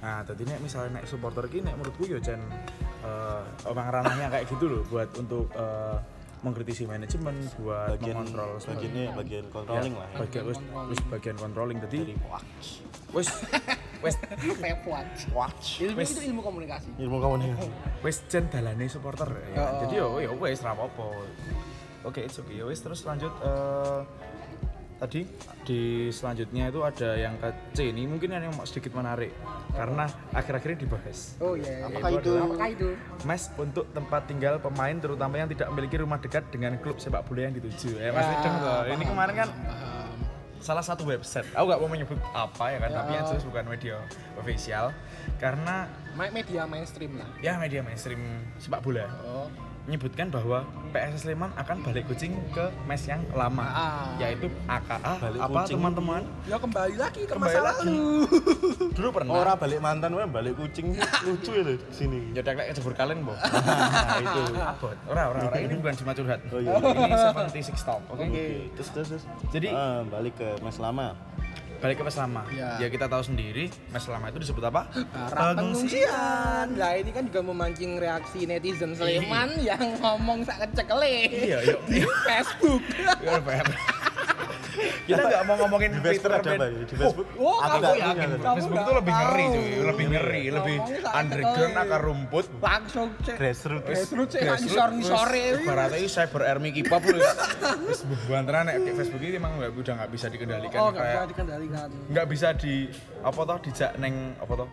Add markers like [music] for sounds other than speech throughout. Nah, tadi nek misalnya nek supporter ki nek menurutku yo cen eh, orang ranahnya kayak gitu loh buat untuk eh, mengkritisi manajemen buat bagian mengontrol bagiannya bagian Ya, controlling lah ya. bagian wis wis bagian controlling Dari jadi watch, wis wis Kayak kuat. watch. Ilmu Wes. itu ilmu komunikasi. Ilmu komunikasi. wis jen dalane supporter ya. Jadi yo yo wis ra apa Oke, it's okay. Ya wis terus lanjut eh, tadi di selanjutnya itu ada yang ke C ini mungkin yang sedikit menarik karena akhir-akhir ini dibahas. Oh iya. Apakah itu? adalah- Apakah itu? Mes untuk tempat tinggal pemain terutama yang tidak memiliki rumah dekat dengan klub sepak bola yang dituju. Ya, Mas Ideng loh. Ini kemarin kan salah satu website. Aku nggak mau menyebut apa ya kan, tapi yang jelas bukan media official karena Ma- Media mainstream lah. ya media mainstream sepak bola Oh. menyebutkan bahwa PSS Sleman akan balik kucing ke mes yang lama Ah. yaitu AKA Balik apa kucing. teman-teman Ya kembali lagi ke Kembali masa lagi. lalu. dulu pernah Orang balik mantan, weh, balik kucing lucu ya di [laughs] sini. Jodak lek kecebur kalen, Bo. Nah, itu abot. Ora, ora, ora. Ini bukan cuma curhat. Oh, iya, Ini 76 talk, oke? Oke, terus terus. terus. Jadi- Ah, balik ke Mas Lama. Balik ke Meslama. Iya. Ah, Ya kita tahu sendiri, Meslama itu disebut apa? Para pengungsian. Lah ini kan juga memancing reaksi netizen Sleman yang ngomong sak kecekele. Iya, iya. Di Facebook. Iya, [laughs] Pak. Kita nggak mau ngomongin Di Facebook ada apa Pan. ya? Di Facebook? Iya. Oh, Aku kamu nggak yakin? punya, Kamu Facebook nggak itu lebih ngeri tahu. Iya. cuy, lebih ngeri, lebih Ngomongnya gitu. saat underground sekali. akar rumput. Langsung cek. Grassroots. Grassroots cek nggak nyisor-nyisore. Ibaratnya ini cyber army kipap lu. Terus buantaran nek kayak Facebook ini emang nggak udah nggak bisa dikendalikan Oh, nggak bisa kayak dikendalikan. nggak bisa di apa toh dijak neng apa toh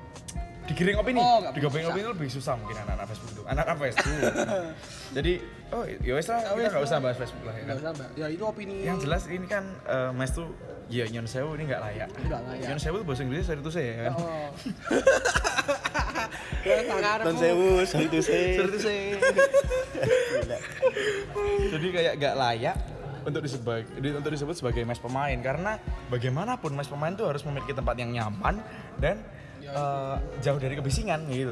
digiring opini Oh, nggak digiring bisa. opini itu lebih susah mungkin anak-anak Facebook itu anak-anak [laughs] Facebook jadi oh ya wes lah kita wes nggak lah. usah bahas Facebook lah ya Nggak kan usah, Mbak. Ya itu opini. yang jelas ini kan eh, Mas tuh ya nyon sewu ini nggak layak Nggak layak. nyon sewu itu bahasa Inggrisnya seri saya ya kan [laughs] Oh. Ya, tangan Tahun aku. sewu, sorry to say. Seri saya [laughs] jadi kayak nggak layak untuk disebut untuk disebut sebagai mes pemain karena bagaimanapun mes pemain tuh harus memiliki tempat yang nyaman dan eh, jauh dari kebisingan gitu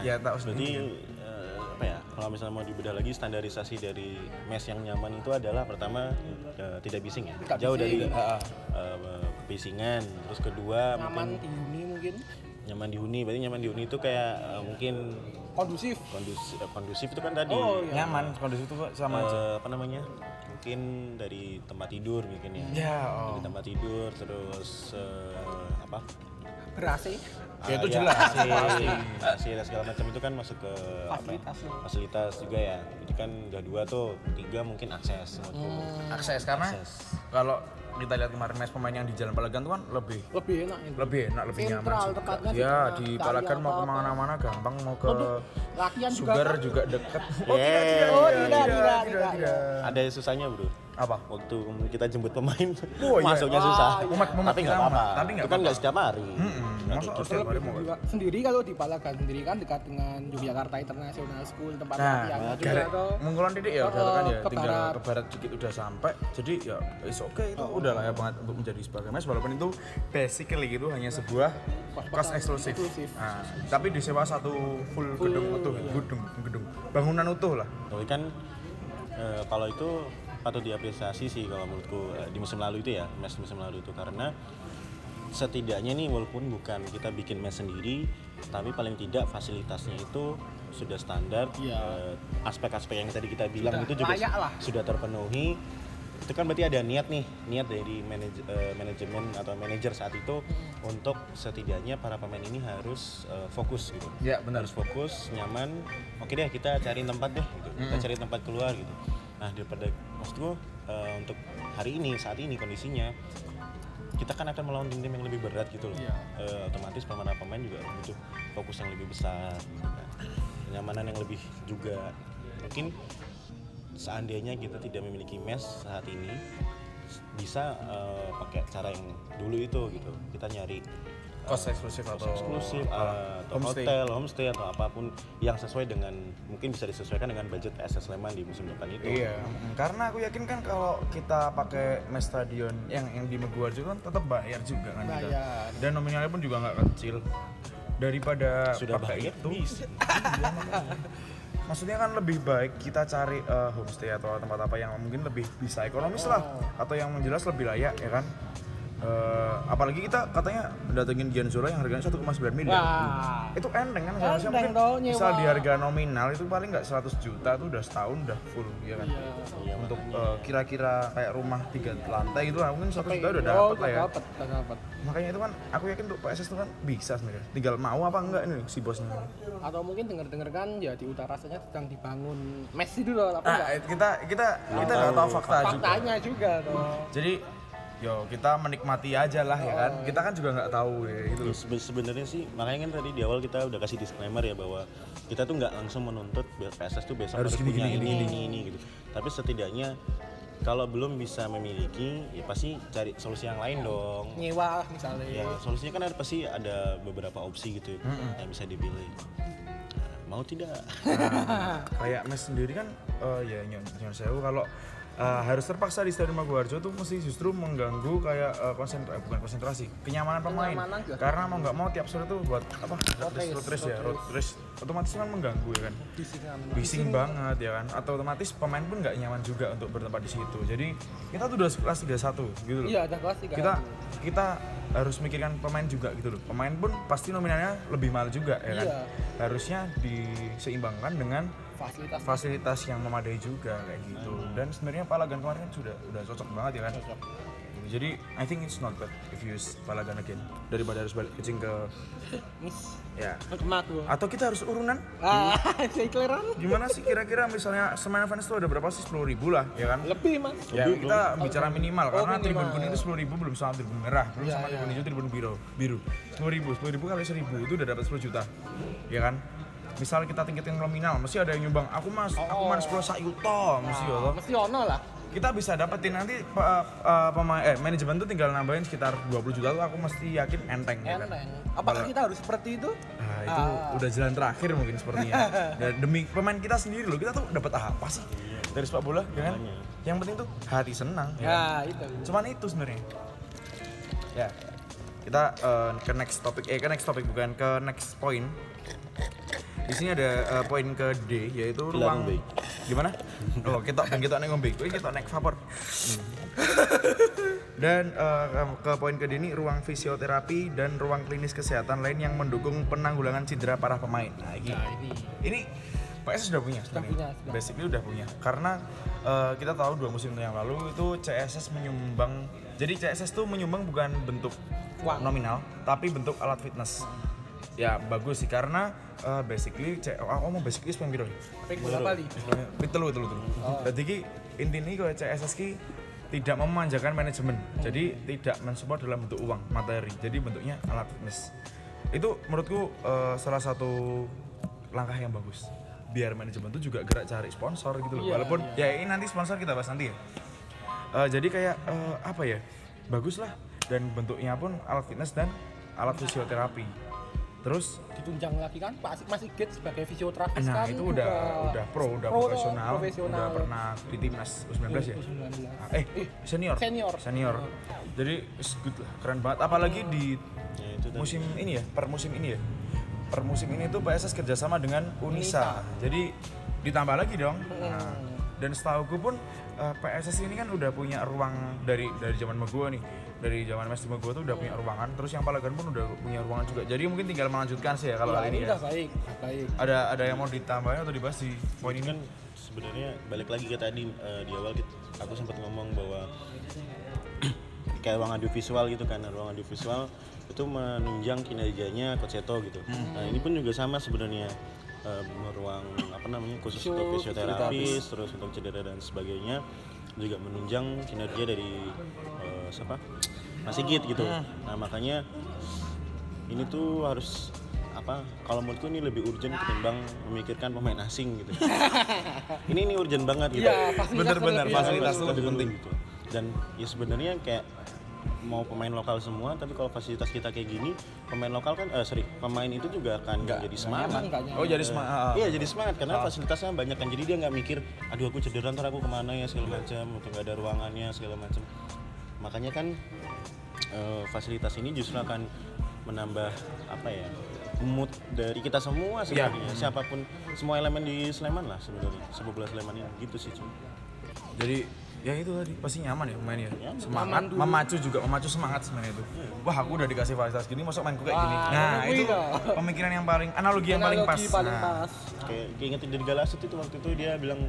ya tak usah Berarti eh, apa ya? Kalau misalnya mau dibedah lagi standarisasi dari mesh yang nyaman itu adalah pertama eh, tidak bising ya. Nggak Jauh dari bising. eh, eh, kebisingan. Terus kedua Nyaman mungkin dihuni mungkin. nyaman dihuni. Berarti nyaman dihuni itu kayak eh, mungkin Kondusif. kondusif, kondusif itu kan tadi. Oh, iya. nyaman kondisi itu sama aja Eh, apa namanya? Mungkin dari tempat tidur mungkin ya. ya oh. Dari tempat tidur terus eh, apa? Berasi. Ya, Ah, itu jelas. AC, Pasti. AC dan segala macam itu kan masuk ke apa? ya? Fasilitas. fasilitas juga ya. Jadi kan udah dua tuh, tiga mungkin akses. Hmm. menurutku. akses karena Akses. kalau kita lihat kemarin mes pemain yang di Jalan Palagan tuh kan lebih Lebih enak ini. lebih enak lebih Sentral, nyaman juga. dekatnya sih ya cuma di nggak Palagan ada mau apa-apa. kemana-mana gampang mau ke Latihan juga Sugar kan? juga deket Yeah. Oh, tidak, tidak, tidak. Hmm, Ada susahnya bro. apa Waktu kita jemput pemain Oh, iya. masuknya Ah, susah. iya. Mumet, mumet, Tapi nggak kita apa-apa. mumet. Tapi nggak itu kan apa-apa. nggak setiap hari. Nggak masa tutup. setiap hari mau kan? juga sendiri kalau di Palagan sendiri kan dekat dengan Yogyakarta International School tempat Nah, latihan juga garek tuh. mengkulon titik ya, Oh, udah kan ya, ke tinggal barat. Oh. ke barat dikit udah sampai. Jadi ya is okay itu udah layak banget untuk menjadi sebagai mes walaupun itu basically itu hanya sebuah kos eksklusif. eksklusif. Nah, tapi disewa satu full, gedung utuh, gedung, gedung, bangunan utuh lah. Tapi kan eh, kalau itu patut diapresiasi sih kalau menurutku eh, di musim lalu itu ya, mes musim lalu itu karena setidaknya nih walaupun bukan kita bikin mes sendiri, tapi paling tidak fasilitasnya itu sudah standar, eh, aspek-aspek yang tadi kita bilang itu juga Iya. layak lah. sudah terpenuhi. Itu kan berarti ada niat nih, niat dari manaj- eh, manajemen atau manajer saat itu Hmm. untuk setidaknya para pemain ini harus eh, fokus gitu Iya, Ya, benar. harus fokus nyaman oke deh kita cari tempat deh gitu kita cari tempat keluar gitu nah daripada maksudku eh, untuk hari ini saat ini kondisinya kita kan akan melawan tim-tim yang lebih berat gitu loh Iya. Eh, otomatis pemain-pemain juga butuh fokus yang lebih besar gitu kan. kenyamanan yang lebih juga mungkin seandainya kita tidak memiliki mesh saat ini bisa eh, pakai cara yang dulu itu gitu kita nyari Kos eksklusif atau eh, eksklusif uh, atau homestay. hotel, homestay atau apapun yang sesuai dengan mungkin bisa disesuaikan dengan budget PSS Sleman di musim depan itu. Iya, karena aku yakin kan kalau kita pakai mes stadion yang yang di Meguarjo kan tetap bayar juga kan kita. Bayar. Dan nominalnya pun juga nggak kecil. Daripada Sudah pakai bayar itu, bisa. Iya, makanya. Maksudnya kan lebih baik kita cari eh, homestay atau tempat apa yang mungkin lebih bisa ekonomis lah atau yang jelas lebih layak ya kan. Eh, eh, apalagi kita katanya datengin Gian Zola yang harganya 1,9 miliar. Wah. Itu enteng kan seharusnya Enteng mungkin dong, misal nyewa. di harga nominal itu paling nggak 100 juta tuh udah setahun udah full ya kan. Untuk eh, kira-kira kayak rumah tiga lantai itu lah mungkin 100 juta udah Oh, dapet lah ya. Dapat, udah dapat. Makanya itu kan aku yakin untuk PSS itu kan bisa sebenarnya. Tinggal mau apa enggak ini si bosnya. Atau mungkin denger-denger kan ya di utara rasanya sedang dibangun mes itu loh, Nah, tapi enggak kita kita kita nggak tahu fakta juga. faktanya juga toh. Jadi yo kita menikmati aja lah ya kan. Kita kan juga nggak tahu ya gitu. Ya, sebe- sebenarnya sih makanya kan tadi di awal kita udah kasih disclaimer ya bahwa kita tuh nggak langsung menuntut PSS tuh besok harus, Harus gini, punya gini, ini, ini ini gitu. Tapi setidaknya kalau belum bisa memiliki ya pasti cari solusi yang lain dong. Nyewa lah misalnya. Ya solusinya kan ada pasti ada beberapa opsi gitu yang bisa dipilih. Nah, Mau tidak? Nah, [laughs] kayak Mes sendiri kan eh, ya nyon nyon sewu kalau eh, harus terpaksa di Stadion Maguwarjo tuh mesti justru mengganggu kayak konsentrasi bukan konsentrasi kenyamanan pemain Kenyamanan juga. karena mau nggak mau tiap sore tuh buat apa road race, road race ya road race otomatis kan mengganggu ya kan bising banget ya kan atau otomatis pemain pun nggak nyaman juga untuk bertempat di situ jadi kita tuh udah kelas 31 gitu loh Iya, ada kelas tiga. kita kita harus mikirkan pemain juga gitu loh pemain pun pasti nominalnya lebih mahal juga ya kan Iya. harusnya diseimbangkan dengan fasilitas fasilitas yang memadai juga kayak gitu dan sebenarnya Palagan kemarin kan sudah udah cocok banget ya kan jadi I think it's not bad if you use Palagan again daripada harus balik kucing ke mis ya kemat gua. atau kita harus urunan Ah, [laughs] saya keleran. gimana sih kira-kira misalnya Semen Fans itu ada berapa sih 10.000 ribu lah ya kan Lebih, Mas. Ya, kita bicara minimal Ya, karena minimal. tribun kuning itu sepuluh ribu belum sama tribun merah, belum sama tribun hijau, tribun biru, biru. Sepuluh ribu, sepuluh ribu kali seribu itu udah dapat 10 juta, ya kan? Misal kita tingkatin nominal, mesti ada yang nyumbang. Aku mas, aku mas sepuluh sayuto, mesti Oh. ya Allah. Mesti ono lah. Kita bisa dapetin nanti pa- eh, pema- eh, manajemen tuh tinggal nambahin sekitar 20 juta tuh aku mesti yakin enteng, ya kan? Enteng. Apakah kita harus seperti itu? Nah, itu udah jalan terakhir mungkin sepertinya. [laughs] Dan demi pemain kita sendiri loh, kita tuh dapat apa sih dari sepak bola, ya kan? Yang penting tuh hati senang. ya kan? Ya, itu. cuman itu sebenarnya ya kita eh, ke next topic eh ke next topic bukan ke next point di sini ada eh, poin ke D yaitu ruang ngombe. gimana oh kita kita neng ngombe Wih, kita naik vapor dan eh, ke- ke poin ke D ini ruang fisioterapi dan ruang klinis kesehatan lain yang mendukung penanggulangan cedera parah pemain nah, ini, ini PS sudah punya sudah punya, sudah. basically udah punya karena eh, kita tahu dua musim yang lalu itu CSS menyumbang jadi CSS tuh menyumbang bukan bentuk Uang. nominal tapi bentuk alat fitness ya bagus sih karena eh, basically C aku mau basically sepeng piro ya? Pik bola Bali. Pi telu telu telu. Jadi ki intine kalau CSS ki tidak memanjakan manajemen. Jadi tidak mensupport dalam bentuk uang, materi. Jadi bentuknya alat fitness. Itu menurutku eh, salah satu langkah yang bagus. Biar manajemen itu juga gerak cari sponsor gitu loh. Walaupun ya ini nanti sponsor kita bahas nanti ya. Eh, jadi kayak eh, apa ya? Bagus lah dan bentuknya pun alat fitness dan alat fisioterapi. Terus Ditunjang lagi kan Pak Asik masih gate sebagai fisioterapis Nah kan. itu udah juga. udah pro, udah Pro, profesional, profesional. udah pernah di timnas U19 ya. U19. Ah, Eh, senior. Senior. Senior. Jadi is good lah, keren banget. Apalagi di Ya, itu tadi. musim ini ya, per musim ini ya. Per musim ini tuh PSS kerjasama dengan Unisa. Jadi ditambah lagi dong. Hmm. Nah, dan setahu gue pun eh, PSS ini kan udah punya ruang dari dari zaman Megua nih. Dari zaman Mas Megua tuh Hmm. udah punya ruangan, terus yang Palagan pun udah punya ruangan juga. Jadi mungkin tinggal melanjutkan sih ya kalau Nah, hal ini ini ya. udah baik, udah baik. Ada ada yang mau ditambahin atau dibahas di poin ini ini? kan sebenarnya balik lagi ke tadi eh, di awal kita, aku sempat ngomong bahwa [clears throat] kayak ruang audiovisual gitu kan ruang audiovisual itu menunjang kinerjanya Koceto gitu nah ini pun juga sama sebenarnya Eh, ruang apa namanya khusus untuk Fisio- fisioterapis terus untuk cedera dan sebagainya juga menunjang kinerja dari eh, siapa Mas Sigit gitu nah makanya ini tuh harus apa kalau menurutku ini lebih urgent ketimbang memikirkan pemain asing gitu [laughs] ini ini urgent banget gitu Iya, fasilitas Bener-bener, lebih- Iya, fasilitas. Fasilitas lebih lebih penting. penting gitu dan ya sebenarnya kayak mau pemain lokal semua tapi kalau fasilitas kita kayak gini pemain lokal kan eh sorry pemain itu juga akan jadi semangat Nyaman kayaknya. Oh jadi semangat. Iya jadi semangat karena fasilitasnya banyak kan jadi dia nggak mikir aduh aku cedera ntar aku kemana ya segala macam atau nggak ada ruangannya segala macam makanya kan eh, fasilitas ini justru akan menambah apa ya mood dari kita semua sebenarnya siapapun semua elemen di Sleman lah sebenarnya sepak bola Sleman ini gitu sih cuy Jadi ya itu tadi pasti nyaman ya main ya semangat Nyaman. Iya, Nyaman dulu. memacu juga memacu semangat sebenarnya itu wah aku udah dikasih fasilitas gini masuk mainku kayak gini Wah, nah iya. itu pemikiran yang paling analogi yang paling pas Analogi paling Nah, pas. kayak kayak ingetin dari Galasut itu waktu itu dia bilang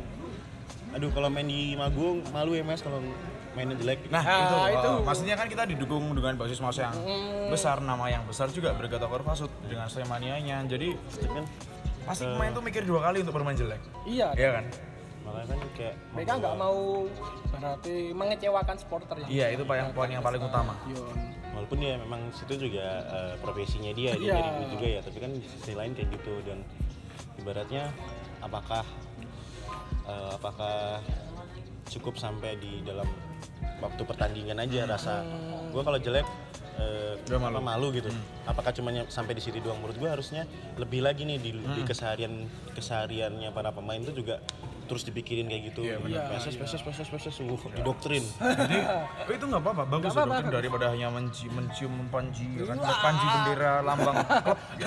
aduh kalau main di Magung malu ya mas kalau mainnya jelek Nah, Ah, itu, uh, itu. maksudnya kan kita didukung dengan basis masa yang besar, nama yang besar juga berkata Korvasut dengan Slemanianya. Jadi Gitu kan pasti pemain tuh mikir dua kali untuk bermain jelek. Iya. Iya kan? malah kan kayak membawa- Mereka nggak mau berarti mengecewakan supporter yang Nah, iya. Iya, itu yang poin yang paling utama. Yun. walaupun ya memang situ juga eh, profesinya dia dia Iya. jadi duit juga ya tapi kan di sisi lain kayak gitu dan ibaratnya apakah eh, apakah cukup sampai di dalam waktu pertandingan Hmm. aja rasa gue kalau jelek eh, Udah apa, malu. Hmm. malu gitu apakah cuma nyam- sampai di situ doang menurut gue harusnya lebih lagi nih di, di Hmm. keseharian kesehariannya para pemain tuh juga terus dipikirin kayak gitu Iya, benar. proses Iya, proses proses proses uh, didoktrin Jadi eh, itu nggak apa-apa, bagus Nggak ya, apa-apa. dokter daripada hanya menci- mencium panji, ya kan, panji bendera lambang klub. ya.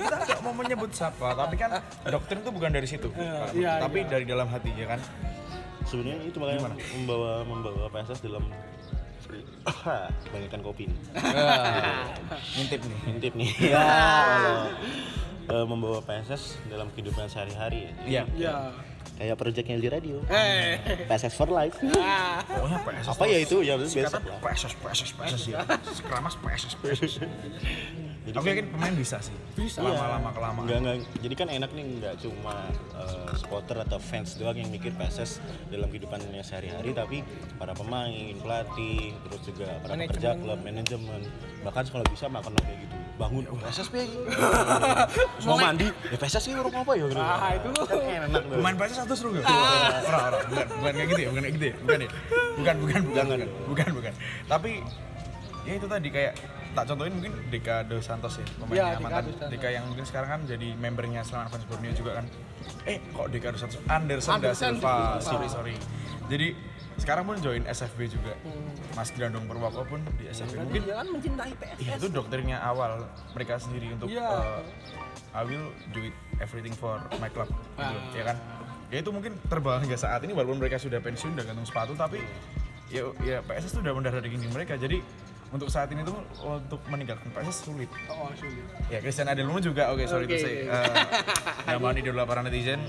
Kita nggak mau menyebut siapa, tapi kan dokter itu bukan dari situ, Pak. iya, tapi dari dalam hati ya kan. sebenarnya itu makanya membawa membawa PSS dalam [coughs] kebanyakan kopi [laughs] nih. Ngintip nih. intip nih [laughs] ya Allah. Eh, membawa PSS dalam kehidupan sehari-hari ya. Jadi Iya. Iya. kayak projectnya di [laughs] radio Eh. PSS for life Ah. Pokoknya PSS. apa ya itu ya biasa Kata lah PSS, PSS, PSS ya. Sekeramas PSS, PSS. [laughs] jadi Aku kan- yakin pemain bisa sih. Bisa. Lama-lama kelamaan. Iya. Nggak, nggak. Jadi kan enak nih nggak cuma eh, supporter atau fans doang yang mikir PSS dalam kehidupannya sehari-hari, tapi para pemain, pelatih, terus juga para Manajemen. pekerja klub, manajemen, bahkan kalau bisa makan kayak gitu, bangun "Oh, PSS pi, [laughs] Terus mau mandi, ya PSS sih urung apa ya? gitu. Ah, itu. Kan enak tuh. Pemain PSS satu seru gak? Ah. Orang, orang, bukan, bukan kayak gitu ya, bukan kayak gitu ya, bukan ya, bukan, bukan, bukan, Jangan. bukan, bukan, bukan. Tapi ya itu tadi kayak tak contohin mungkin Deka Dos Santos ya Iya, pemainnya Deka mantan Dos Santos. Deka yang mungkin sekarang kan jadi membernya Serangan Fans Borneo juga kan. Eh kok Deka Dos Santos Anderson, da Anderson Silva, da Silva. sorry sorry. Jadi sekarang pun join SFB juga. Mas Grandong Purwoko pun di SFB. Hmm. Berarti Mungkin dia kan mencintai Ya, PSS. itu dokternya awal mereka sendiri untuk Iya. uh, I will do it everything for my club gitu, Ah. ya kan ya itu mungkin terbang hingga saat ini walaupun mereka sudah pensiun udah gantung sepatu tapi ya ya PSS itu udah mendarah daging mereka jadi untuk saat ini tuh untuk meninggalkan PSS sulit Oh, sulit. ya Christian Adelmo juga oke sorry Oke. to say uh, nama idola para netizen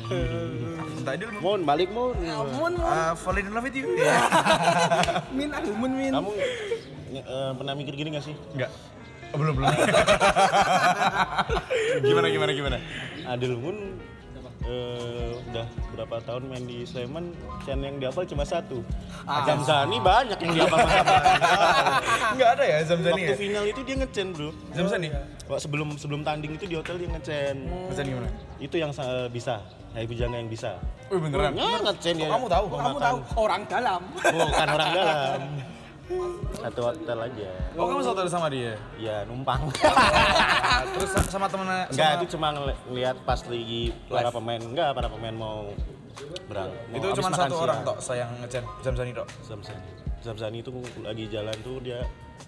entah Adelmo Mun, balik mun. Amun, uh, falling in love with you ya min aku mun min. Kamu eh, pernah mikir gini gak sih? enggak Oh, belum [laughs] belum gimana gimana gimana Adil Mun eh, udah berapa tahun main di Sleman, Chan yang dihafal cuma satu. Ah. Adam Zani banyak yang [laughs] dihafal Mas Abang. enggak ada ya Zamzani Waktu ya final itu dia ngecen bro. Zamzani Wah, Sebelum sebelum tanding itu di hotel dia ngecen. Zamzani gimana Itu yang sa- bisa, Hai Bujanga yang bisa. Wih beneran? Ya ngecen dia. Kamu tahu? Oh, kamu tahu orang dalam. Bukan orang dalam. Satu hotel aja. Oh kamu saudara sama dia? Ya numpang. [laughs] Ah, Terus sa- sama temennya? Enggak, sama- itu cuma ngel- ngeliat pas lagi para pemain, enggak para pemain mau berang. mau itu habis cuma makan satu siang. orang tok sayang ngecen Zamzani tok Zamzani. Zamzani itu lagi jalan tuh dia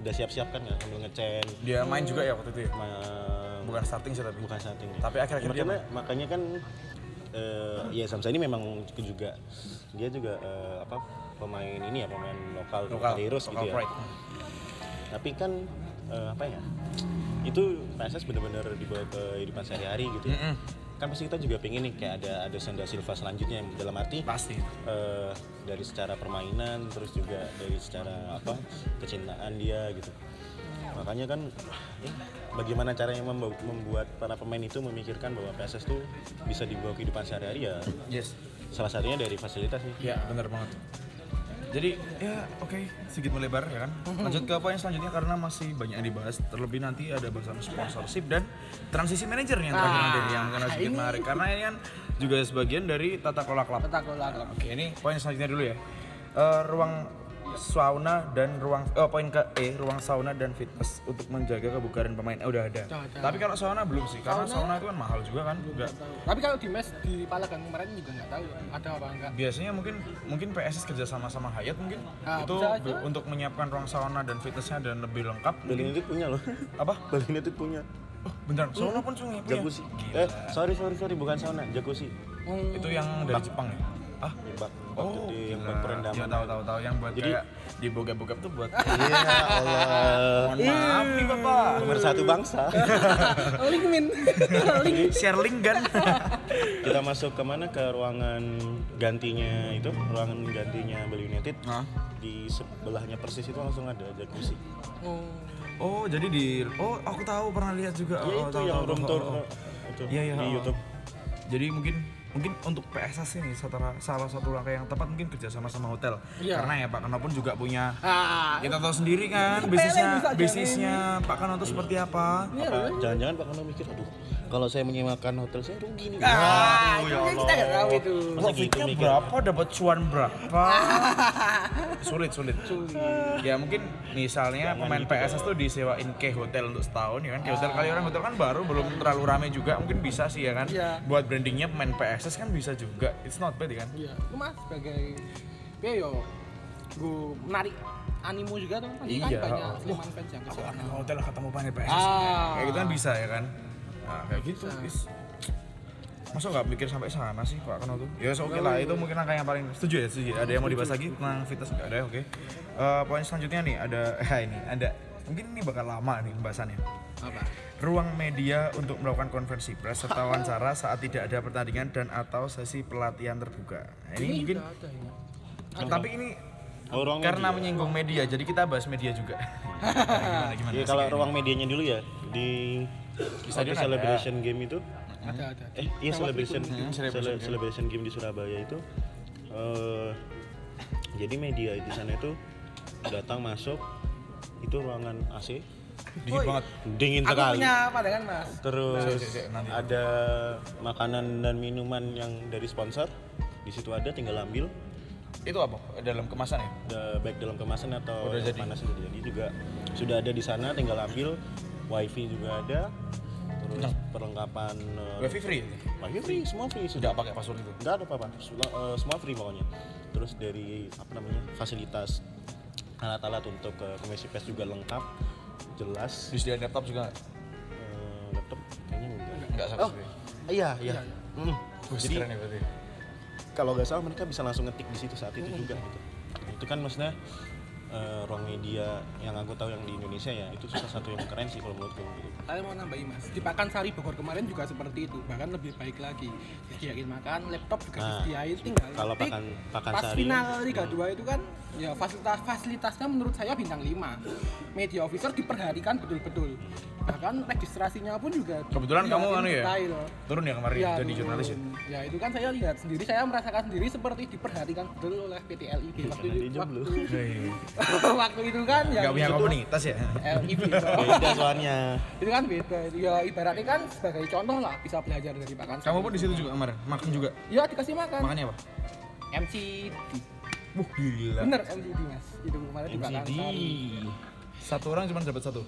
udah siap-siap kan ya sambil ngecen Dia main juga ya waktu itu ya? ma- Bukan starting sih tapi bukan starting. ya. Tapi akhir-akhir dia makanya, makanya kan eh, ya Zamzani memang juga dia juga eh, apa pemain ini ya pemain lokal Lokal, Kalirus lokal gitu ya. pride Hmm, Tapi kan eh, apa ya? Itu PSS benar-benar dibawa ke kehidupan sehari-hari gitu. ya. Mm-mm. Kan pasti kita juga pengen nih kayak ada ada Senda Silva selanjutnya yang dalam arti Pasti eh, dari secara permainan terus juga dari secara apa kecintaan dia gitu makanya kan eh, bagaimana caranya memba- membuat para pemain itu memikirkan bahwa PSS tuh bisa dibawa kehidupan sehari-hari ya Yes salah satunya dari fasilitas Ya nih bener banget jadi ya oke sedikit melebar ya kan Hmm. lanjut ke apa yang selanjutnya karena masih banyak yang dibahas terlebih nanti ada bahasan sponsorship dan transisi manajer yang terakhir nanti nih, yang Ah, akan sedikit menarik karena ini kan juga sebagian dari tata kelola klub Kata kelola klub. Oke, ini poin selanjutnya dulu ya. Eh, ruang sauna dan ruang eh, poin ke E, ruang sauna dan fitness untuk menjaga kebugaran pemain Eh, udah ada. Udah ada. Tapi kalau sauna belum sih, karena sauna itu kan mahal juga kan. Enggak. Tapi kalau di mes di Palagan kemarin juga nggak tahu ada apa [laughs] enggak. Biasanya mungkin mungkin PSS kerja sama sama Hayat mungkin Ah, itu bisa aja. be- untuk menyiapkan ruang sauna dan fitnessnya dan lebih lengkap. Bali United punya loh Apa? Bali United punya Oh, beneran Hmm. sauna pun sungai punya. jacuzzi eh sorry sorry sorry bukan sauna jacuzzi Hmm. Itu yang dari Jepang ya. Ah? Jebak jebak gede yang buat perendaman. Iya, tahu tahu tahu yang buat Jadi- kayak di bokep-bokep tuh buat Iya, Allah. Mohon maaf nih Bapak. Pemersatu bangsa. [laughs] Oh, Lingmin. Jadi share link kan. Kita masuk ke mana ke ruangan gantinya itu, ruangan gantinya Bali United. Hah? Di sebelahnya persis itu langsung ada jacuzzi. [laughs] Oh, Oh. jadi di Oh, aku tahu pernah lihat juga. Oh, Ya itu tahu, yang tahu, room tahu, tour eh, tahu. itu Iya, iya, di oh. YouTube. Jadi mungkin mungkin untuk PSS ini salah, salah satu langkah yang tepat mungkin kerjasama sama hotel. Iya. Karena ya Pak Kano pun juga punya Ah, kita tahu sendiri kan Hotel yang bisa bisnisnya jalan bisnisnya Pak Kano tuh seperti apa. Apa Ah, jangan-jangan Pak Kano mikir, aduh, kalau saya menyewakan hotel saya rugi nih. Ah, Oh, Waduh, ya itu kan kita nggak tahu itu. Masa gitu Profitnya mikir? berapa dapat cuan berapa? sulit, sulit. Ya mungkin misalnya pemain PSS tuh disewain ke hotel untuk setahun ya kan. Ke hotel kali orang hotel kan baru belum terlalu rame juga mungkin bisa sih ya kan. Iya. Buat brandingnya pemain PSS kan bisa juga. It's not bad ya kan. Iya, cuma sebagai ya yo gue menarik animo juga tuh kan Iya. banyak Oh. Sleman fans yang ke Aku sana. akan ke hotel ketemu pemain PSS. Ah. Kayak gitu kan bisa ya kan. Nah, kayak gitu. Is. Masa nggak mikir sampai sana sih Pak Kano tuh? Ya oke lah, itu mungkin angka yang paling setuju ya, setuju. ya? Ada yang mau dibahas lagi tentang fitness nggak ada ya, oke. Eh, poin selanjutnya nih ada [laughs] ya ini ada mungkin ini bakal lama nih pembahasannya. Apa? Ruang media untuk melakukan konversi pers Ah. serta wawancara saat tidak ada pertandingan dan atau sesi pelatihan terbuka. Nah, ini mungkin udah ada ini. tapi ini Oh, ruang karena media. menyinggung media, jadi kita bahas media [laughs] juga. gimana, gimana, Iya, kalau ruang medianya dulu ya di Stadion waktu ada. celebration game itu Ada ada. ada. eh iya celebration Hmm, celebration cele- game. celebration game di Surabaya itu eh jadi media di sana itu datang masuk itu ruangan AC dingin banget. dingin Aku sekali punya pandangan Mas. terus Cek, cek, cek, nanti. ada makanan dan minuman yang dari sponsor di situ ada tinggal ambil Itu apa? Dalam kemasan ya? da- baik dalam kemasan atau Udah yang jadi. panas udah jadi juga sudah ada di sana tinggal ambil wifi juga ada terus perlengkapan eh, Nah. Wifi free. ya? wifi free semua free sudah Nggak pakai password itu. nggak ada apa-apa Sula- eh, semua free pokoknya terus dari apa namanya fasilitas alat-alat untuk eh, komisi pers juga lengkap jelas Disediain laptop juga nggak? Eh, laptop kayaknya enggak nggak sama sekali. iya iya Mm. Wih, jadi Oh. keren ya berarti. kalau nggak salah mereka bisa langsung ngetik di situ saat itu Iya, juga gitu. Itu kan maksudnya eh, ruang media yang aku tahu yang di Indonesia ya itu salah satu yang keren sih kalau menurutku. Gitu. Saya mau nambahin Mas. Di Pakansari Bogor kemarin juga seperti itu, bahkan lebih baik lagi. Disediain makan, laptop juga Nah, disediain tinggal. kalau ketik. Pakan- Hmm. pas Pakansari- final Liga 2 itu kan ya fasilitas fasilitasnya menurut saya bintang 5. Media officer diperhatikan betul-betul. Bahkan registrasinya pun juga Kebetulan kamu diatur anu ya? detail. Turun ya kemarin jadi dulu. jurnalis ya? Ya, itu kan saya lihat sendiri, saya merasakan sendiri seperti diperhatikan betul oleh PT LIB waktu Iya, Karena dia itu. jomblo. Waktu, Iya, iya, iya. waktu [laughs] itu kan ya Nggak punya komunitas ya? LIB. Beda soalnya. itu kan beda. Ya ibaratnya kan sebagai contoh lah bisa belajar dari Pak Kansari. Kamu pun di situ juga kemarin? Makan juga? Ya dikasih makan. Makannya apa? MCD. Wah gila. Bener MCD Mas. Itu kemarin di Pak MCD. Kansari. Satu orang cuma dapat satu.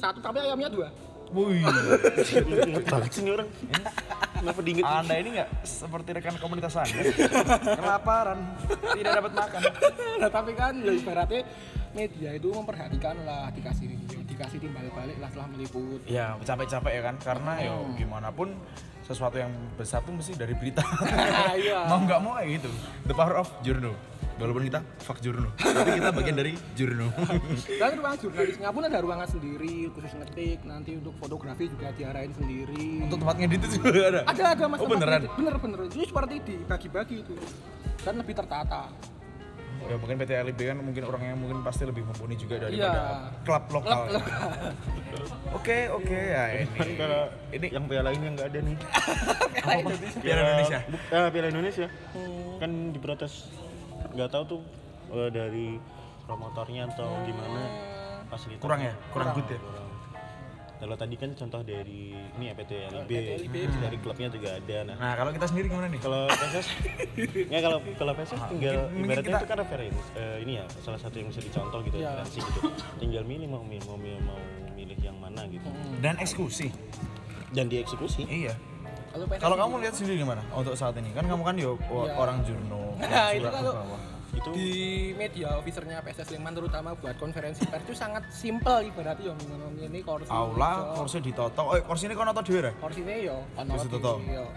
Satu tapi ayamnya dua. [laughs] Wih. Ingat banget sih ini orang. Kenapa diinget? [laughs] Anda ini nggak seperti rekan komunitas Anda. [laughs] Kelaparan, tidak dapat makan. nah, tapi kan ya ibaratnya media itu memperhatikan lah dikasih dikasih timbal balik lah setelah meliput. [laughs] Ya capek-capek ya kan, karena ya gimana pun sesuatu yang besar tuh mesti dari berita. [laughs] Iya. mau nggak mau kayak gitu. The power of journal. Walaupun kita fuck journal, tapi kita bagian dari journal. Dan ruang jurnalisnya pun ada ruangan sendiri khusus ngetik, nanti untuk fotografi juga diarahin sendiri. [laughs] Untuk tempat ngedit itu juga ada. ada ada mas Oh, tempat beneran? ngedit. bener bener itu seperti dibagi-bagi itu dan lebih tertata. Ya mungkin PT LIB kan mungkin orangnya mungkin pasti lebih mumpuni juga daripada Iya. klub lokal. Klub lokal. Oke oke [laughs] ya ini. Kalau Ini yang piala ini yang nggak ada nih. Kayak Indonesia. Piala Indonesia. Buk- eh, piala Indonesia. Kan diprotes. Nggak tahu tuh eh, dari promotornya atau gimana fasilitas. kurang ya, kurang good ya. Kalau tadi kan contoh dari ini ya PT Oh, LIB, LIB. dari klubnya juga ada. Nah, Nah kalau kita sendiri gimana nih? [laughs] kalau PSS ya kalau kalau PSS Ah, tinggal mungkin- mungkin ibaratnya kita- Ya. itu kan referensi eh, ini ya salah satu yang bisa dicontoh gitu Iya. referensi gitu. Tinggal milih mau milih mau, milih- mau milih yang mana gitu. Dan eksekusi. Dan dieksekusi. Iya. Kalau Kalau kamu lihat sendiri gimana untuk saat ini? Kan kamu kan yo o- Iya. orang [laughs] jurno. Nah, itu surat ke kalau- bawah. Itu di media officernya PSS Sleman terutama buat konferensi pers itu sangat simple ibaratnya yang ini kursi aula hijau. kursi ditoto. Oh kursi ini kau nonton dhewe ra? kursi ini yo ono Kursi toto. di- yo.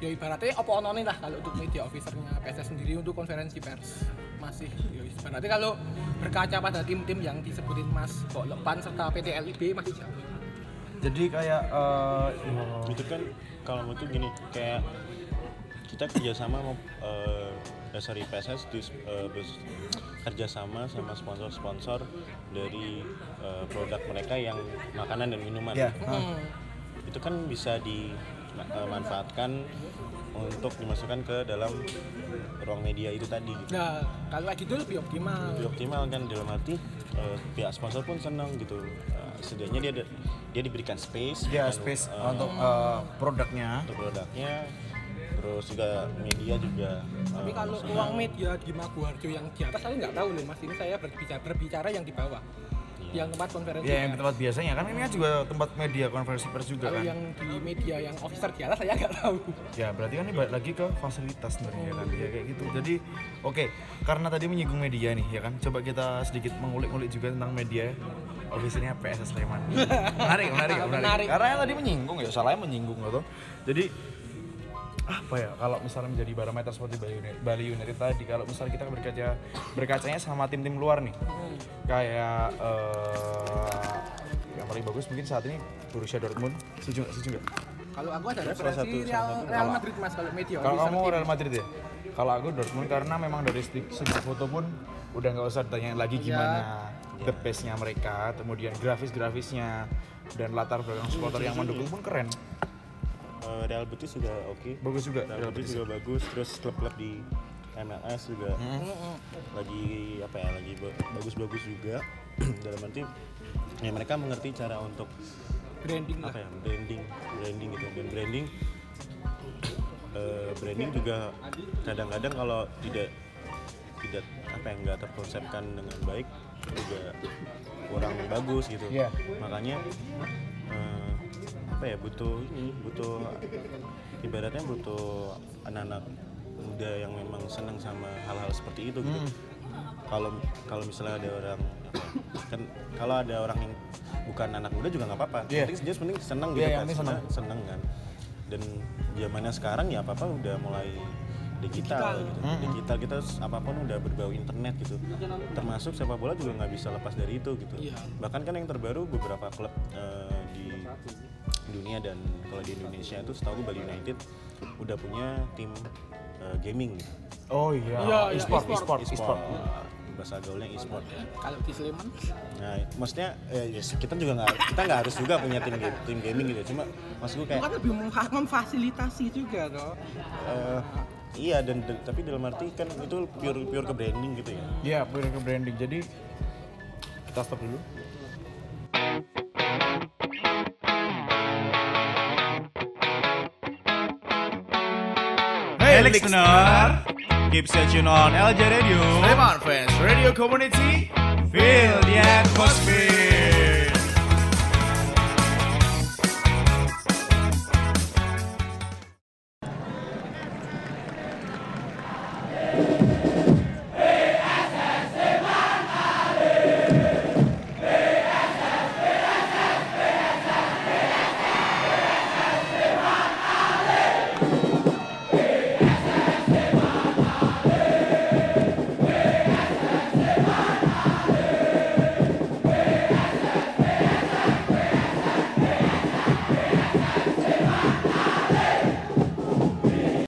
ya ibaratnya apa onone lah kalau untuk media officernya PSS sendiri untuk konferensi pers masih ya ibaratnya kalau berkaca pada tim-tim yang disebutin Mas Kok Lepan serta PT LIB masih jauh Jadi kayak eh, itu kan kalau menurut gini kayak kita kerjasama sama eh, eh, sorry PSS di, eh, bes- kerjasama sama sponsor-sponsor dari eh, produk mereka yang makanan dan minuman ya. ah. Hmm. itu kan bisa dimanfaatkan untuk dimasukkan ke dalam ruang media itu tadi gitu. Nah, kalau lagi itu lebih optimal. lebih optimal kan dalam arti eh, pihak sponsor pun senang gitu Eh, setidaknya dia ada- dia diberikan space Dia dan, Ya, space eh, untuk eh, produknya. untuk produknya terus juga media juga Tapi eh, kalau senang. uang media di Maguwarjo yang di atas saya nggak tahu loh Mas. Ini saya berbicara, berbicara yang di bawah. Yang tempat konferensi. Ya yang pers. tempat biasanya kan ini kan juga tempat media konversi pers juga kalau kan. yang di media yang officer di atas saya nggak tahu. Ya berarti kan ini balik lagi ke fasilitas sebenarnya kan ya kayak gitu. Jadi oke karena tadi menyinggung media nih ya kan. Coba kita sedikit mengulik-ulik juga tentang media ofisialnya PSS Sleman. menarik, menarik, menarik. Menarik. Karena yang tadi menyinggung ya salahnya menyinggung gitu. Jadi apa ya kalau misalnya menjadi barometer seperti Bali United, Bali United tadi kalau misalnya kita berkaca berkacanya sama tim-tim luar nih kayak eh, yang paling bagus mungkin saat ini Borussia Dortmund setuju nggak setuju nggak Kalau aku ada salah referensi satu- Real, salah satu. Real Kalau- Madrid Mas kalau media kalau officer. kamu tim. Real Madrid ya? Kalau aku Dortmund karena memang dari segi segi foto pun udah nggak usah ditanyain lagi gimana the base-nya mereka, kemudian grafis-grafisnya dan latar belakang supporter yang mendukung pun keren. Eh, Real Betis juga oke Bagus juga. Real Betis juga bagus terus klub-klub di MLS juga lagi apa ya lagi ba- bagus-bagus juga [clears throat] dalam arti ya mereka mengerti cara untuk branding lah. apa ya branding branding gitu dan branding eh, branding juga kadang-kadang kalau tidak tidak apa yang nggak terkonsepkan dengan baik juga kurang bagus gitu Iya. makanya eh, apa ya butuh ini butuh ibaratnya butuh anak-anak muda yang memang senang sama hal-hal seperti itu Hmm. gitu kalau kalau misalnya ada orang apa ya, kan kalau ada orang yang bukan anak muda juga nggak apa-apa Iya. Yang penting dia penting senang gitu Iya, yang kan penting senang senang kan dan zamannya sekarang ya apa apa udah mulai digital, gitu digital kita s- apapun udah berbau internet gitu termasuk sepak bola juga nggak bisa lepas dari itu gitu Iya. bahkan kan yang terbaru beberapa klub eh, di dunia dan kalau di Indonesia itu setahu gue Bali United udah punya tim eh, gaming gitu Oh iya, Iya, iya, e-sport, e-sport, e-sport. e-sport. Eh, bahasa gaulnya e-sport ya. Kalau di Sleman Nah, maksudnya eh, ya, kita juga nggak kita nggak harus juga punya tim ga- tim gaming gitu. Cuma maksud gue itu kayak kan lebih memfa- memfasilitasi juga toh. eh, iya dan dan- tapi dalam arti kan itu pure pure ke branding gitu ya. Iya, pure ke branding. Jadi kita stop dulu. Hey, listener, keep searching on LJ Radio. Sleman Fans Radio Community, feel the atmosphere.